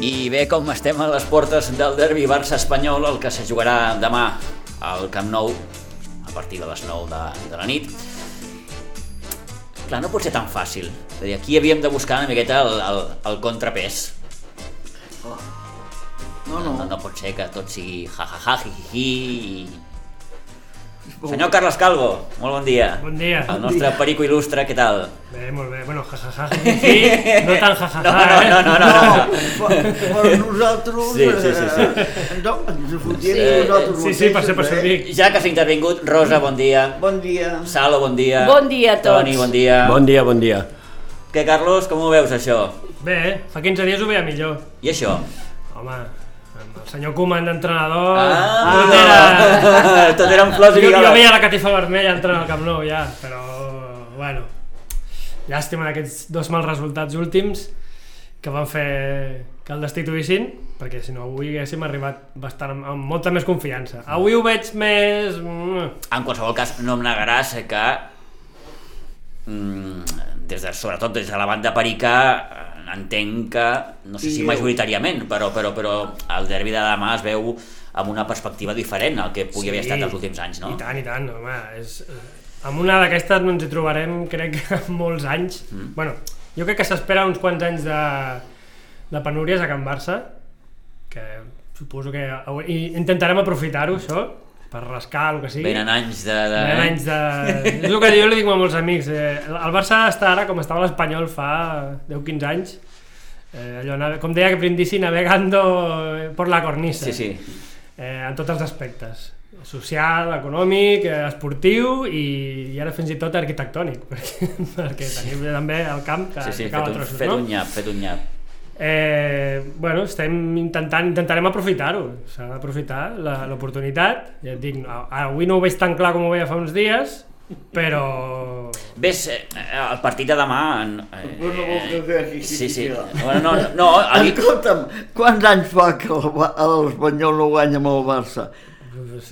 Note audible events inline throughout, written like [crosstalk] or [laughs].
I bé, com estem a les portes del derbi Barça-Espanyol, el que se jugarà demà al Camp Nou a partir de les 9 de, de la nit. Clar, no pot ser tan fàcil. És a dir, aquí havíem de buscar una miqueta el, el, el contrapès. No, No, no. no pot ser que tot sigui ha-ha-ha, hi-hi-hi... Senyor Carles Calvo, molt bon dia. Bon dia. El nostre perico il·lustre, què tal? Bé, molt bé. Bueno, jajaja. Sí, no tan jajaja, No, no, no, no, no, no. No, per nosaltres... Sí, sí, sí, sí. eh, No, ens Sí. fotien nosaltres Sí, sí, per ser, per ser, mateixos, eh? dic. Ja que s'ha intervingut, Rosa, bon dia. Bon dia. Salo, bon dia. Bon dia a tots. Toni, bon dia. Bon dia, bon dia. Què, Carlos, com ho veus, això? eh? Bé, fa 15 dies ho veia millor. I això? Home, amb el senyor Koeman d'entrenador... Ah, tot [laughs] era... tot eren flors i Jo, jo veia violes. la catifa vermella entrant al Camp Nou ja, però... Bueno, llàstima d'aquests dos mals resultats últims que van fer que el destituïssin, perquè si no avui haguéssim arribat bastant amb, amb molta més confiança. Avui ho veig més... mm, En qualsevol cas, no em negaràs que mm, des de, sobretot des de la banda perica eh, entenc que, no sé si I- majoritàriament, però, però, però el derbi de demà es veu amb una perspectiva diferent al que pugui haver estat els últims anys, no? I tant, i tant, home, és... eh, Amb una d'aquestes no ens hi trobarem, crec, [laughs] que en molts anys. Mm. Bueno, jo crec que s'espera uns quants anys de, de penúries a Can Barça, que suposo que hau- i intentarem aprofitar-ho, això, per rascar el que sigui. Venen anys de... de... eh? Venen anys de... És el que jo li dic a molts amics. Eh, el Barça està ara com estava l'Espanyol fa 10-15 anys. Eh, allò, nave- com deia que Brindisi, navegando eh, por la cornisa Sí, sí. eh, en tots els aspectes social, econòmic, eh, esportiu i, i ara fins i tot arquitectònic [laughs] perquè, perquè tenim també el camp que, Sí, sí, fet que acaba un, trossos, fet no? un nyap, fet un nyap. Eh, bueno, estem intentant, intentarem aprofitar-ho. S'ha d'aprofitar la- l'oportunitat. Ja et dic, a- avui no ho veig tan clar com ho veia fa uns dies, però... Ves, eh, el partit de demà... En, eh, No, no vols que vegi. Sí, sí. Bueno, no, no, no, el, Escolta'm, quants anys fa que el Ba- l'Espanyol no guanya amb el Barça?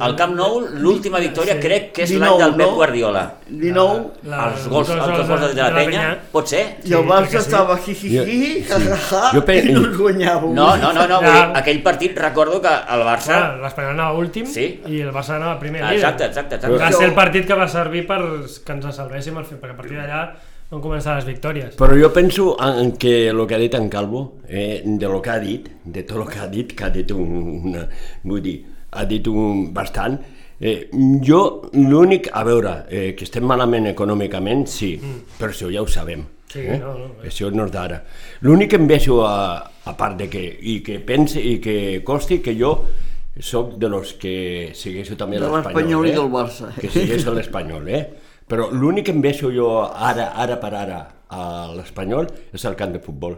el Camp Nou, l'última victòria Sí. crec que és l'any 19, del Pep no? Guardiola. 19? els gols, els dos gols de, de la penya, pot ser? I el Sí, Barça perquè sí. estava hi-hi-hi, Jo- sí. ha-ha-ha, Jo pe- i no ens guanyàveu. No, no, no, no Ja. Ah, vull dir, aquell partit recordo que el Barça... Clar, L'Espanyol anava últim Sí. i el Barça anava primer. Ah, líder. exacte, exacte, Va exacte. ser el partit que va servir per que ens salvéssim, al fi- perquè a partir d'allà van començar les victòries. Però jo penso en que el que ha dit en Calvo, eh, de lo que ha dit, de tot el que ha dit, que ha dit un, una, vull dir, ha dit un bastant, eh, jo l'únic, a veure, eh, que estem malament econòmicament, sí, mm. però això ja ho sabem. Sí, eh? no, no, eh. Això no és d'ara. L'únic que em vejo, a, a part de que, i que pense, i que costi, que jo sóc de los que segueixo també De l'Espanyol l'Espanyol. i eh? del Barça. Que segueix de l'Espanyol, eh? Però l'únic que em vejo jo ara, ara per ara a l'Espanyol és el camp de futbol.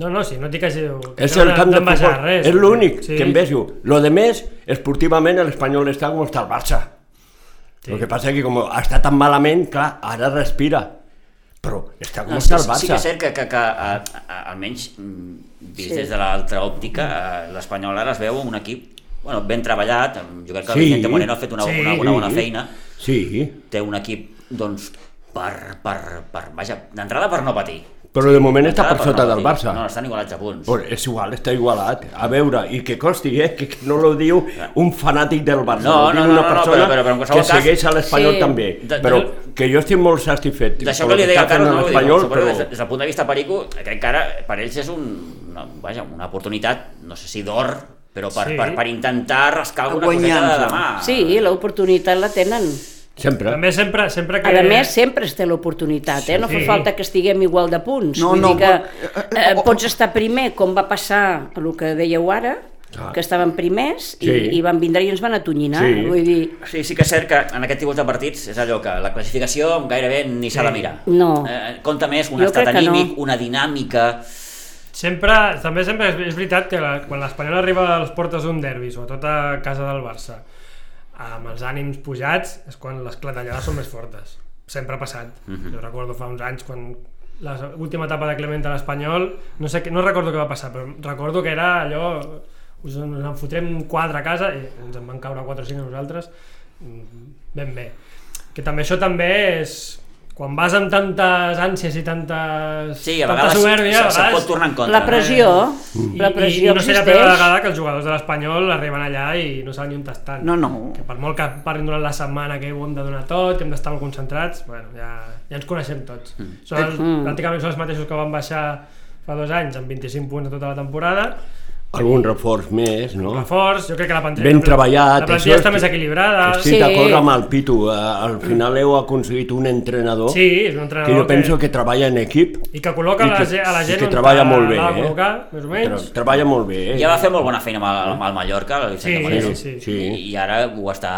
No, no, sí, no et dic que... que És no el camp de em vas a futbol, res. és l'únic Sí. que em vejo. Lo de més, esportivament, l'Espanyol està com està el Barça. Sí. El que passa que com està tan malament, clar, ara respira. Però està com està el sí, sí que Barça. és cert que, que, que a, a, almenys mm, vist sí. des de l'altra òptica, eh, l'Espanyol ara es veu un equip bueno, ben treballat, jo crec que el Sí. Vicente Moreno ha fet una, Sí. una, una bona feina, Sí, té un equip doncs, per, per, per, vaja, d'entrada per no patir. però de moment està D'entrada per sota no del patir. Barça. No, estan igualats a punts. Però és igual, està igualat. A veure, i que costi, eh, que no lo diu un fanàtic del Barça, No, ho diu no, no, no, una no, persona però- però- però en que qualsevol cas- segueix a l'Espanyol Sí. també. De- de- però que jo estic molt satisfet. D'això pel que li deia està el Carlos, fent no, l'Espanyol, l'Espanyol, però... des, però... des del punt de vista perico, crec que ara per ells és un, una, vaja, una oportunitat, no sé si d'or, però per, Sí. sí. per, per intentar rascar alguna Guanyar-la. coseta de demà. Sí, l'oportunitat la tenen. Sempre. També sempre, sempre que... A més, sempre es té l'oportunitat, eh? No fa Sí. falta que estiguem igual de punts. No, Vull no, dir que pot- eh, pots estar primer, com va passar el que dèieu ara, Ah. que estaven primers i, Sí. i van vindre i ens van atonyinar. Sí. Vull dir, Sí, sí que és cert que en aquest tipus de partits és allò que la classificació gairebé ni s'ha de mirar. No. Eh, compta més un Jo estat crec que no. anímic, una dinàmica... Sempre, també sempre és, és veritat que la, quan l'Espanyol arriba a les portes d'un derbi, sobretot a casa del Barça, amb els ànims pujats, és quan les clatellades són més fortes. Sempre ha passat. Mhm. Jo recordo fa uns anys quan la última etapa de Clemente a l'Espanyol, no, sé, què- no recordo què va passar, però recordo que era allò... Us en, us en fotrem quatre a casa, i ens en van caure quatre o cinc a nosaltres, mm, ben bé. Que també això també és... Quan vas amb tantes ànsies i tantes... Sí, a tanta vegades Soberbia, a se, se vegades pot tornar en contra. La pressió, la Mm. i, i, i pressió no serà la existeix. primera vegada que els jugadors de l'Espanyol arriben allà i no saben ni on estan. eh? No, no. Que per molt que parlin durant la setmana que ho hem de donar tot, que hem d'estar molt concentrats, bueno, ja, ja ens coneixem tots. Mm. Són els, mm. Pràcticament són els mateixos que van baixar fa dos anys amb 25 punts de tota la temporada. Algun reforç més, no? Reforç, jo crec que la plantilla... Oh. Ben La treballat. plantilla això està estic- més equilibrada. Estic Sí. d'acord amb el Pitu. eh, Al final heu aconseguit un entrenador Sí, és un entrenador que jo penso que treballa en equip I que col·loca i la, ge- a la gent i que on la- treballa molt bé, l'ha de eh? col·locar, més o menys. Tre- treballa molt bé, eh? Ja va fer molt bona feina amb el, amb el Mallorca, el Vicente Sí, Moreno. sí, sí. sí. I, I ara ho està,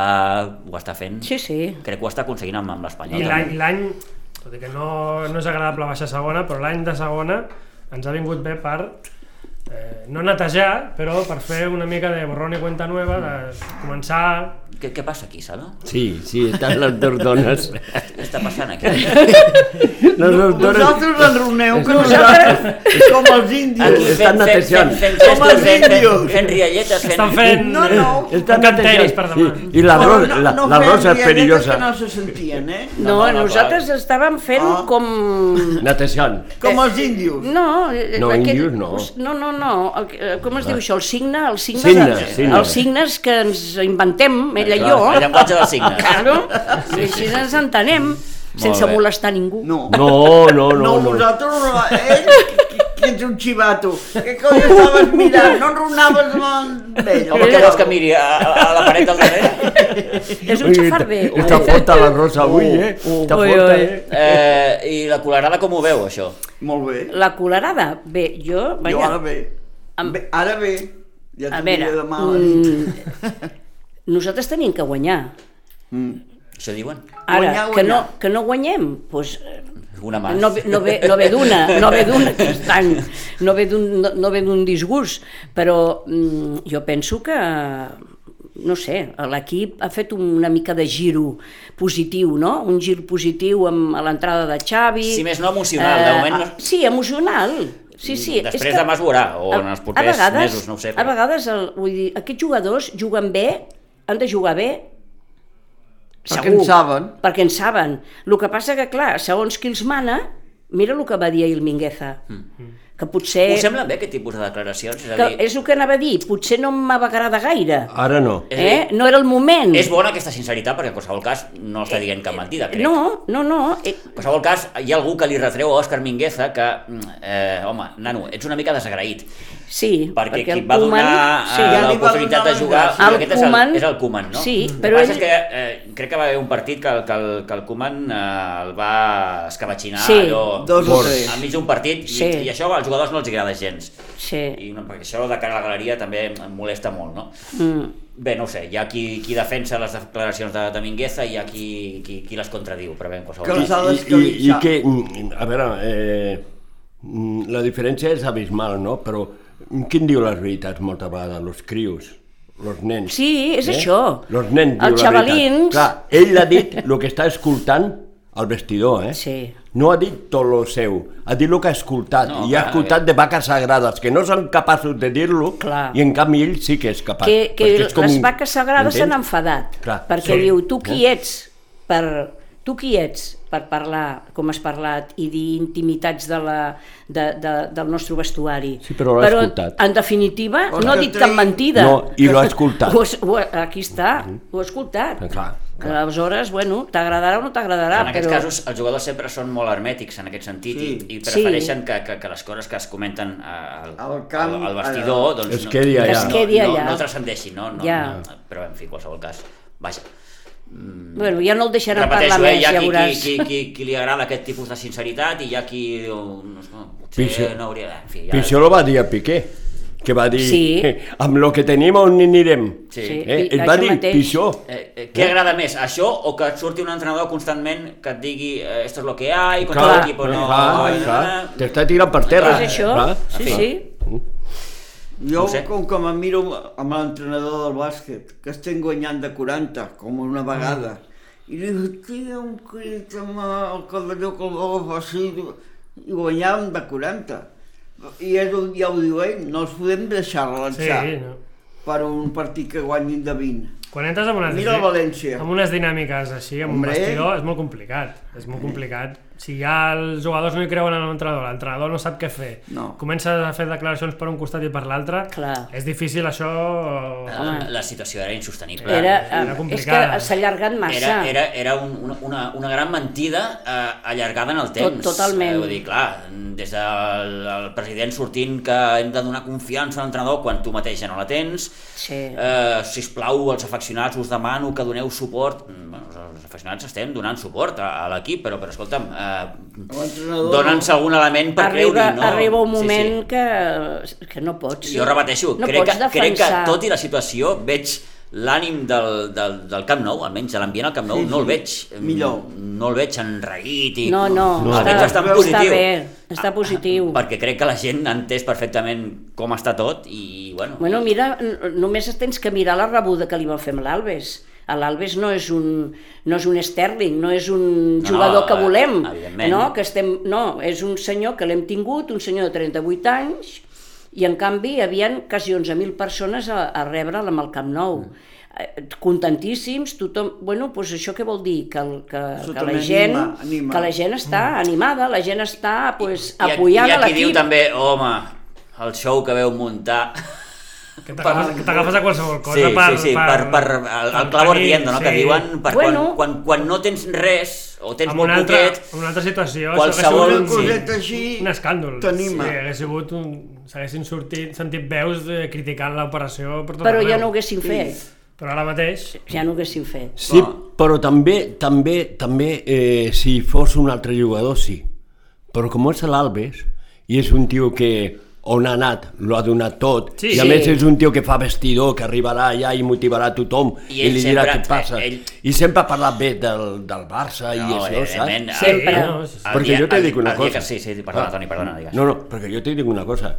ho està fent. Sí, sí. Crec que ho està aconseguint amb, amb l'Espanyol. I també. l'any, i l'any, tot i que no, no és agradable baixar a segona, però l'any de segona ens ha vingut bé per eh, no netejar, però per fer una mica de borrón i cuenta nueva, de començar... Què, què passa aquí, Sala? Sí, sí, estan les dues dones. Què està passant [laughs] aquí? Les dues dones Vosaltres ens reuneu que nosaltres, com els Aquí índios. Estan fent, fent, netejant. fent, fent, Com gestos, fent, els fent, índios. fent rialletes, fent... Estan fent... No, no. estan Encanteris per demà. I, i la, Però Ros- la, la feien Rosa és rialletes perillosa. Que no se sentien, eh? No, no, no, nosaltres estàvem fent Ah. com... Netejant. Com els índios. No, eh, No, aquest- índios no. No, no, no. el que- eh, Com es diu això? El signe? El signe, Signe, de, signe. Els signes que ens inventem, ella i Clar, jo. El llenguatge dels signes. Claro, i així ens entenem, sense bé. molestar ningú. No. No, No, no, no. no. vosaltres no. eh? [laughs] Ell, que, que ets un xivato. Que coi estaves mirant? No enrunaves amb eh? ell. Home, què vols que miri? A, a, a la paret del darrere? És un xafarder. Ui, Te fota la Rosa avui, eh? Te Ui, fota, ui. eh? Eh, I la colorada com ho veu, això? Molt bé. La colarada, bé, jo... Jo Vaja, ara bé. Amb- Bé, Ara bé. Ja a t'ho veure, diré demà. mm, nosaltres tenim que guanyar. Això diuen? Ara, Guanyar, que, no, guanyar. que no guanyem, doncs, eh, Una mà. no, ve- no, ve, no ve d'una, no ve d'un aquest any, no ve d'un no, no ve d'un disgust, però mm, jo penso que, no sé, l'equip ha fet una mica de giro positiu, no? Un gir positiu amb a l'entrada de Xavi. Si més no, emocional, de moment no- Mm, ah, Sí, emocional. Sí, sí. és Després demà es veurà, o en els a- propers a vegades, mesos, no ho sé, A però- vegades, el, vull dir, aquests jugadors juguen bé, han de jugar bé, Perquè en saben. perquè en saben. El que passa que, clar, segons qui els mana, mira el que va dir ahir el Mingueza, Mm. Mm. que potser... Us semblen bé aquest tipus de declaracions? És a que dir, és el que anava a dir, potser no m'agrada gaire, Ara no. Ah, És a dir, eh? no era el moment. és bona aquesta sinceritat, perquè en qualsevol cas no està dient cap mentida, crec. No, no, no, eh, En qualsevol cas, hi ha algú que li retreu a Òscar Mingueza que, mm, eh, home, nano, ets una mica desagraït. sí. Perquè, perquè qui el va Koeman- donar sí, eh, ja li va l'oportunitat de donar jugar l'enllaç. jo El aquest és, Koeman- el, és el Koeman, no? sí, El però que passa ell- és que eh, crec que va haver un partit que, el- que, el, que el Koeman eh, el va escabatxinar Sí. allò, Dos o tres. a mig d'un partit Sí. i, i això als jugadors no els agrada gens Sí. i no, perquè això de cara a la galeria també em molesta molt, no? Mm. Bé, no ho sé, hi ha qui, qui defensa les declaracions de, de Mingueza i hi ha qui, qui, qui les contradiu, però bé, en qualsevol Que cas. les ha I, i, i descalificat. que, mm, a veure, eh, mm, la diferència és abismal, no? Però mm, qui en diu les veritats moltes vegades? Los crios, los nens. Eh? Sí, és Eh? això. Los nens diu Els la veritat. xavalins- Clar, ell ha dit el que està escoltant al vestidor, eh? Sí. No ha dit tot lo seu, ha dit el que ha escoltat, No, no, i ha clar, escoltat de vaques sagrades, que no són capaços de dir-lo, eh. Clar. i en canvi ell sí que és capaç. que, que perquè és com les un- vaques sagrades s'han m'entens? enfadat, Clar, perquè sí. diu, tu qui Eh? ets per... Tu qui ets per parlar com has parlat i dir intimitats de la, de, de, del nostre vestuari? Sí, però l'ha escoltat. en definitiva, Però no ha que dit cap tri- mentida. No, i l'ha escoltat. Ho, has- ho, aquí està, ho ha escoltat. Eh, clar, Que Aleshores, bueno, t'agradarà o no t'agradarà, en aquests però... casos els jugadors sempre són molt hermètics en aquest sentit sí. Sí. i, i Sí. prefereixen que, que, que les coses que es comenten eh, al, Al camp, eh, al, al vestidor allà. doncs Es quedi allà. Es quedi no, allà. no, no transcendeixin no, no, Ja. no, però en fi, qualsevol cas vaja, Bueno, ja no el deixaran repeteixo, parlar eh, més, hi ha ja qui, qui, veuràs. qui, qui, qui li agrada aquest tipus de sinceritat i hi ha qui diu, no, sé, potser Pixe. no hauria en fi, ja, Pixió lo va dir a Piqué. que va dir, "Eh, Sí. amb lo que tenim on anirem. Sí. Sí. Eh? I Et va això dir mateix. pitjor. Eh, eh, què agrada més, això o que et surti un entrenador constantment que et digui eh, esto es lo que hay, contra Clar, l'equip o no... clar, eh, clar. eh, T'està tirant per terra. És això? clar. Sí, Sí. sí. Jo, No sé. com que me miro amb l'entrenador del bàsquet, que estem guanyant de 40, com una vegada, i li dic, tio, un crit amb el cavalló que el va agafar així, i guanyàvem de 40. I és, un- ja ho diu ell, no els podem deixar Sí, relançar no. per un partit que guanyin de 20. Quan entres en unes, Mira el València. amb unes dinàmiques així, amb Hombre. un vestidor, és molt complicat. És molt complicat. Si ja els jugadors no hi creuen en l'entrenador, l'entrenador no sap què fer, No. comença a fer declaracions per un costat i per l'altre, Clar. és difícil això... La, la situació era insostenible. Era, era eh, és que complicada. s'ha allargat massa. Era, era, era un, una- una, una gran mentida eh, allargada en el Tot- temps. totalment. Eh, vull dir, clar, des del el president sortint que hem de donar confiança a l'entrenador quan tu mateix ja no la tens. Sí. Eh, sisplau, els afeccionats, us demano que doneu suport. Mm, Bueno, els afeccionats estem donant suport a, a l'equip, però, però escolta'm, eh, L'entrenador... dona'ns algun element per arriba, creure-hi, no? arriba un moment Sí, sí. Que, que no pots. Jo repeteixo, no crec, pots que, crec que defensar. tot i la situació veig l'ànim del, del, del Camp Nou, almenys de l'ambient al Camp Nou, Sí, sí. no el veig. mm, Millor. No el veig enreguit i... No, no, No. El està, veig bastant positiu. Ah, està bé, està positiu. Perquè crec que la gent ha entès perfectament com està tot i, bueno... Bueno, mira, n- només tens que mirar la rebuda que li va fer amb l'Albes. A L'Albes no és un no és un Sterling, no és un No, jugador no, que volem, evidentment. no, que estem, no, és un senyor que l'hem tingut, un senyor de 38 anys i en canvi hi havien quasi 11.000 persones a, a rebre'l amb el Camp Nou. Mm. Eh, contentíssims, tothom... Bueno, doncs això què vol dir? Que, el, que, Això que la també gent, anima, anima. que la gent està animada, la gent està pues, I a- apoyant I a aquí diu l'equip. també, home, el show que veu muntar... Que t'agafes que t'agafes a qualsevol cosa sí, per... sí, sí, per, per, el, el clavo tenir- ardiendo, no? Que diuen per Bueno. quan, quan, quan no tens res o tens en molt una altra, poquet... en una altra situació, qualsevol- això Una hauria sigut un- coseta així... un escàndol. T'anima. Sí, hagués sigut un... S'haguessin sortit, sentit veus eh, criticant l'operació per tot Però ja arreu. no ho haguessin fet. Però ara mateix... Ja no ho haguessin fet. Sí, Ah. però també, també, també eh, si fos un altre jugador, sí. Però com és l'Albes, i és un tio que on ha anat, l'ho ha donat tot, Sí, i a sí. més és un tio que fa vestidor, que arribarà allà i motivarà a tothom, I i, ell li dirà sempre- què et passa. eh, ell- I sempre ha parlat bé del, del Barça i No, això, evidentment, el- saps? Sempre. el- No, sí, sí. el Perquè dia- jo te el- dic una el dia cosa. Que, sí, sí, perdona, Ah. Toni, perdona, digues. No, no, perquè jo t'hi dic una cosa.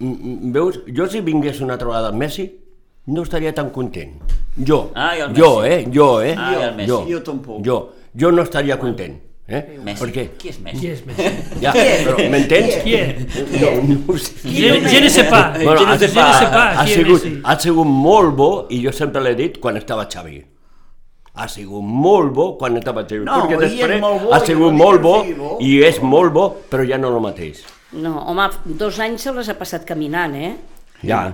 Mm, mm, Veus, jo si vingués una altra vegada el Messi, no estaria tan content. Jo, Ah, i el jo, Messi. eh, jo, eh, Ah, i el Messi. jo, Jo tampoc. Jo, jo no estaria content. Eh? Messi. Perquè, Qui és Messi? Qui és més? ja, però m'entens? Qui és? No, no ho sé. Je, je ne este sé pas. Bueno, je, ne- je ne sé pas ha, qui sigut, és Messi. ha sigut molt bo, i jo sempre l'he dit, quan estava Xavi. Ha sigut molt bo quan estava Xavi. No, perquè i és després molt bo, ha i sigut no dic molt que bo, sigui bo. i és molt bo, però ja no el mateix. No, home, dos anys se les ha passat caminant, eh? Ja.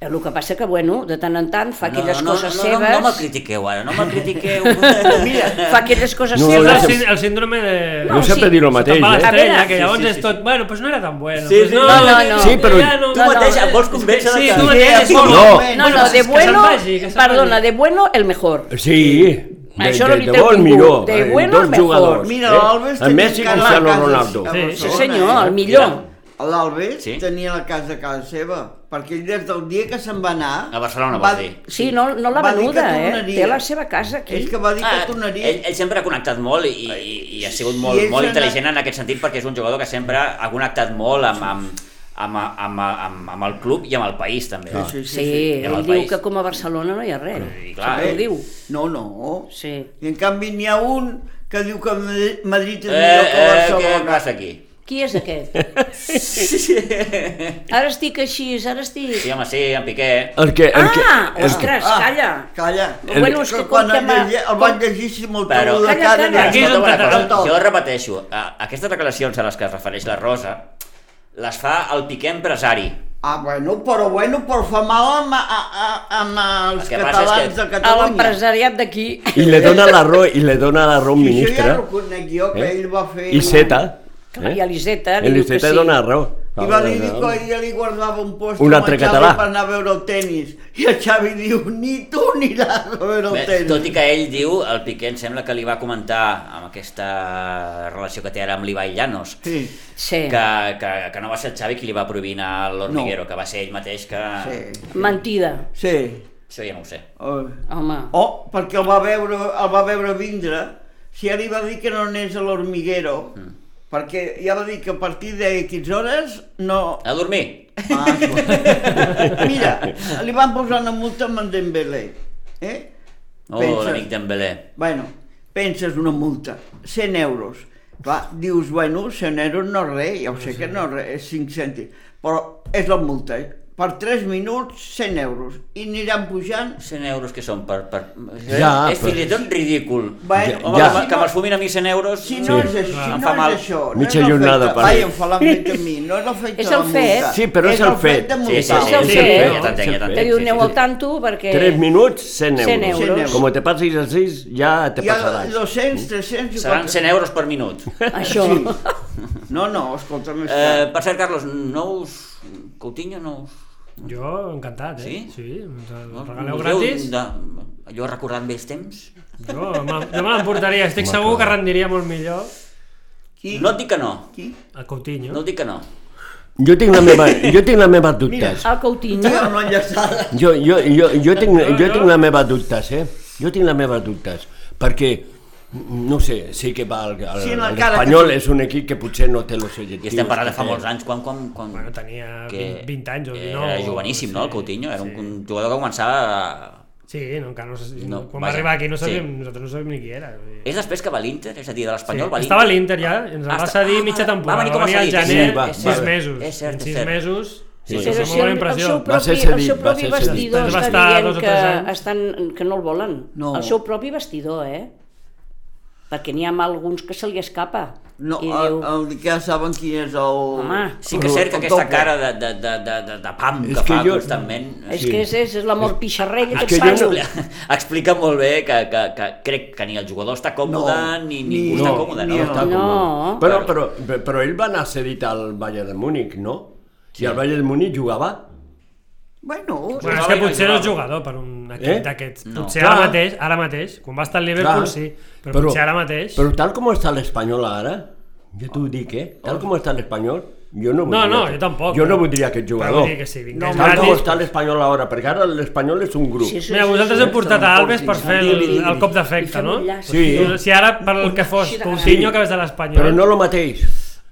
El que passa que, bueno, de tant en tant fa aquelles no, coses no, no, seves... No, no me'l critiqueu ara, no me'l [laughs] critiqueu. [laughs] ah, fa aquelles coses No, seves... El, no sé. sí- el síndrome de... No, No, o sempre sigui, dir el Se mateix, tapa eh? l'estrella, A que veure. llavors és tot, bueno, doncs no era tan bueno. Sí, pues sí. no, No, no, no. Sí, però tu mateix et vols convèncer de Sí, que- tu mateix et vols... No. No, no, de que se'n bueno, vagi, que se'n perdona, vagi. de bueno, el mejor. Sí, de, Això de, no de, li de té bon ningú. millor, De eh, bueno, dos mejor. jugadors. Mira, eh? l'Albes El Messi i tenia Cristiano casa Ronaldo. a Sí, Sí Barcelona, senyor, el eh? millor. L'Albes Sí. sí. tenia la casa a casa seva, perquè ell des del dia que se'n va anar... A Barcelona, vols dir. Sí, no, no l'ha Va dir que venuda, eh? tornaria. Té la seva casa aquí. És que va dir que Ah, tornaria. ell, ell sempre ha connectat molt i, i, i ha sigut I molt, ell molt se n'ha- intel·ligent en aquest sentit perquè és un jugador que sempre ha connectat molt amb, amb, amb, amb, amb, amb el club i amb el país també. Sí, sí, Sí, sí. Era ell el diu país. que com a Barcelona no hi ha res. I clar, Sempre eh? ho diu. No, no. Sí. I en canvi n'hi ha un que diu que Madri- Madrid és Eh, millor que eh, què Barcelona. passa aquí? Qui és aquest? Ara estic així, ara estic... Sí, home, sí, en Piqué. El que, el que, Ah, el, ostres, calla. Calla. El- Bueno, és que quan com que el, m'ha- llegi, el van llegir si molt Però, de Calla, cara. calla. Aquí és on Escolta'm una cosa, t'atrapa tot. jo repeteixo, a- aquestes declaracions a les que es refereix la Rosa les fa el Piqué empresari. Ah, bueno, però bueno, però fa mal amb, a, a, amb els El que passa és catalans que de A Catalunya. l'empresariat d'aquí. I li dona la raó, i li dona la raó un I Això ja ministre. no ho conec jo, que eh? ell va fer... I ¿eh? Zeta. I a l'Iseta li diu que L'Iseta sí. Eh? dona la raó. I va dir que ja li guardava un post Un altre amb el Xavi català. per anar a veure el tennis. I el Xavi diu, ni tu aniràs a veure el Bé, tennis. Eh, tot i que ell diu, el Piqué em sembla que li va comentar amb aquesta relació que té ara amb l'Ibai Llanos, Sí, Sí. que, que, que no va ser el Xavi qui li va prohibir anar a l'Hormiguero, no. que va ser ell mateix que... sí, Mentida. sí. Això ja no ho sé. Oh. Home. O perquè el va veure, el va veure vindre, si ja li va dir que no anés a l'Hormiguero, perquè ja va dir que a partir de X hores no... A dormir! Ah, bueno. [laughs] Mira, li van posar una multa amb en Dembélé. Eh? Oh, Penses- l'amic Dembélé. Bueno, penses una multa, 100 euros. Clar, dius, bueno, 100 euros no és res, ja ho sé que no és res, és 5 cèntims, però és la multa, eh? Per 3 minuts, 100 euros, i aniran pujant... 100 euros que són per... per... Eh, Ja, és fins i tot ridícul. Bueno, Home, ja. que, me- que me'ls fumin a mi 100 euros... Si no, és, si Em no fa mal. és això, no és Mitja el fet jornada, de- per Ai, dir. em fa l'enfet a mi, no és el fet de És la el fet. multa. Sí, però és el fet. de Sí, sí, sí, multar. És el sí, sí, fet. ja t'entenc, ja Que t'entenc. diu, sí, aneu sí, al tanto perquè... 3 minuts, 100 euros. 100 Eh, euros. Com te passis a 6, ja te Hi ha passaràs. 200, 300... sí. Seran 100 euros per [laughs] minut. Això. No, no, escolta, més Eh, per cert, Carlos, no us... Coutinho, no us... Jo, encantat, eh? Sí? Sí, ens el No, regaleu us gratis. veu De... Allò recordant vells temps? Jo, me- jo me l'emportaria, estic segur que rendiria molt millor Qui? No et dic que no. Qui? a Coutinho. No et dic que no. Jo tinc la meva, jo tinc la meva dubtes. [laughs] El Coutinho. Tira una enllaçada. Jo, jo, jo, jo, tinc, no. jo tinc la meva dubtes, eh? Jo tinc la meva dubtes, perquè no ho sé, sí que va, el- el- Sí, en la cara l'Espanyol que- és un equip que potser no té els objectius. I estem parlant de fa que té. molts anys, quan... quan, quan... Bueno, tenia que 20 anys o 19. Era joveníssim, no, el Sí, Coutinho? Era sí. un jugador que començava... a- Sí, no, encara no, sé- No, vaja, quan va arribar aquí no sí. sabíem, nosaltres no sabíem ni qui era. vull dir. És després que va a l'Inter? És a dir, de Sí, l'Espanyol va a l'Inter? estava a l'Inter ja, ens el Ah, va està- cedir ah, mitja va- va temporada, venir com a al cedit. gener, Sí, va, sis va bé. mesos. És cert, en és sis cert. mesos, Sí. sí, sí, Però sí, molt si el, bona el impressió. seu Va propi, ser cedit, el seu va propi ser cedit. vestidor Doncs va està estar dient dos o que, tres anys. estan, que no el volen. No. El seu propi vestidor, eh? Perquè n'hi ha alguns que se li escapa. No, I el, diu, ah, el, ja saben qui és el... home, Sí que és cert que El aquesta topo. cara de, de, de, de, de, de pam que, És que fa jo- constantment... és sí. que és, és, és l'amor pixarrell És aquest que jo paio. no- [laughs] Explica molt bé que, que, que crec que ni el jugador està còmode, No, ni ni- ningú està còmode, ni no? el- està No. còmode. Però, però, però ell va anar cedit al Bayern de Múnich, no? Sí. I el Bayern de Múnich jugava. Bueno, Bueno, és Jugava que i no potser no és jugava. jugador per un equip Eh? d'aquests. No. Potser ara Clar. mateix, ara mateix, quan va estar al Liverpool sí, però, potser ara mateix... Però tal com està l'Espanyol ara, jo t'ho dic, eh? Tal com està l'Espanyol, jo No, no voldria... no, que- jo tampoc. Jo no però- voldria aquest Però jugador. vull dir que sí, No, vingués tal com gratis. està l'Espanyol ara, perquè ara l'Espanyol és un grup. Sí, sí, Mira, sí, vosaltres sí. heu portat a Alves per fer el, Digui'm, digui'm. el cop d'efecte, no? I fem un llaç. Sí. Si ara, per el que fos, Sí. Coutinho, que és de Però l'Espanyol... no el mateix,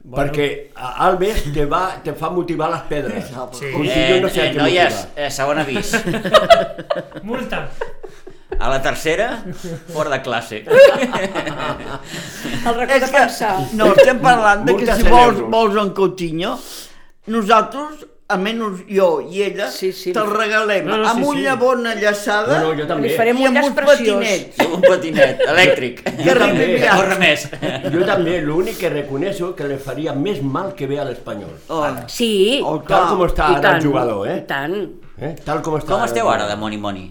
bueno. perquè a Alves te, va, te fa motivar les pedres. Sí. Com si jo Eh, no sé eh, a què noies, motivar. eh, segon avís. Multa! A la tercera, fora de classe. El record de pensar. No, estem parlant de que Multa si cent vols, euros. vols en Coutinho, nosaltres, almenys jo i ella, Sí, sí. te'l regalem No, no, sí, amb sí. una bona llaçada No, no, jo també. Li farem i un amb llaç uns preciós. patinets. Amb un patinet elèctric. Que arribi també. aviat. Corre més. Jo també, l'únic que reconeixo que li faria més mal que bé a l'Espanyol. Oh, Sí, Oh, tal com està i ara tant, el jugador, eh? I tant. eh? Tal com està Com esteu el ara de jugador. Moni Moni?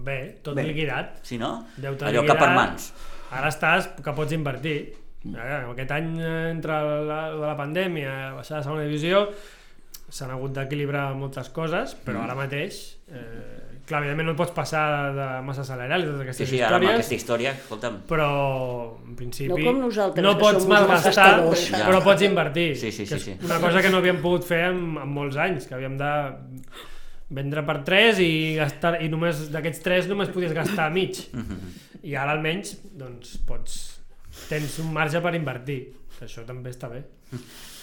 Bé, tot Bé. liquidat. Si no? Deute Allò que per liquidat, mans. Ara estàs que pots invertir. Ara, Aquest any eh, entre la, lo de la pandèmia, baixar de segona divisió, s'han hagut d'equilibrar moltes coses, però ara mateix, eh, clar, evidentment no et pots passar de massa salarial i totes Sí, aquestes sí, ara amb històries, aquesta història, escolta'm. però en principi No com nosaltres, no que pots som uns malgastar, malgastadors. Ja. però pots invertir, Sí, sí, que sí, és sí. una cosa que no havíem pogut fer en, en molts anys, que havíem de vendre per 3 i gastar i només d'aquests 3 només podies [laughs] gastar mig. Mhm. I ara almenys doncs pots tens un marge per invertir, que això també està bé.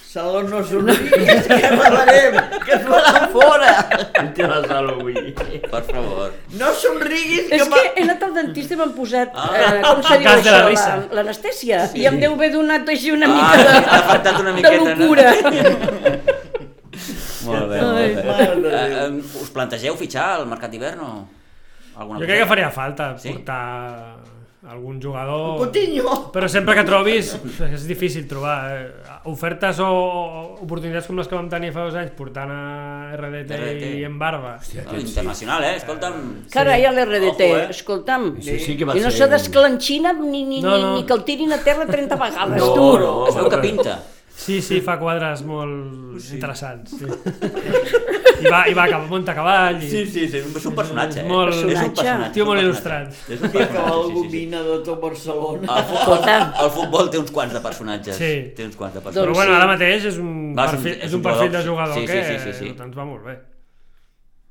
Saló no somriguis, [laughs] que rebarem, que es faran fora. Te [laughs] la salo avui. Per favor. No somriguis, que, És que va... he anat al dentista i m'han posat, eh, com se El diu cas de la això, risa. la- l'anestèsia, i em deu haver donat així una Ah, mica de, ha faltat una de miqueta, no? locura. Molt bé, molt bé. Mare de Eh, Déu. em, us plantegeu fitxar al mercat d'hivern o alguna Jo crec que cosa? faria falta Sí? portar algun jugador... Coutinho. Però sempre que trobis, és difícil trobar eh, ofertes o o oportunitats com les que vam tenir fa dos anys portant a RDT, RDT. i en barba. No, internacional, eh? Escolta'm. Carai, a l'RDT, Ojo, eh? escolta'm. Sí, sí que va I no ser s'ha un- d'esclanxina ni, ni, No, ni, no. ni que el tirin a terra 30 vegades, No, tu. no. Es veu que pinta. Sí, sí, fa quadres molt sí. interessants. Sí. I va, i va cap, munta a cavall. I... Sí, sí, sí, és un personatge. Eh? Molt- És un Personatge. personatge. Tio molt és un il·lustrat. personatge. És un Tia que vol personatge, sí, Ah. sí, sí. gomina de tot Barcelona. El futbol, Escolta. el futbol té uns quants de personatges. Sí. Sí. Té uns quants de Però personatges. Doncs bueno, sí. ara mateix és un, Va, és un- perfil, és és un un perfil de jugador. jugador Sí, sí, que sí, sí, sí. ens va molt bé.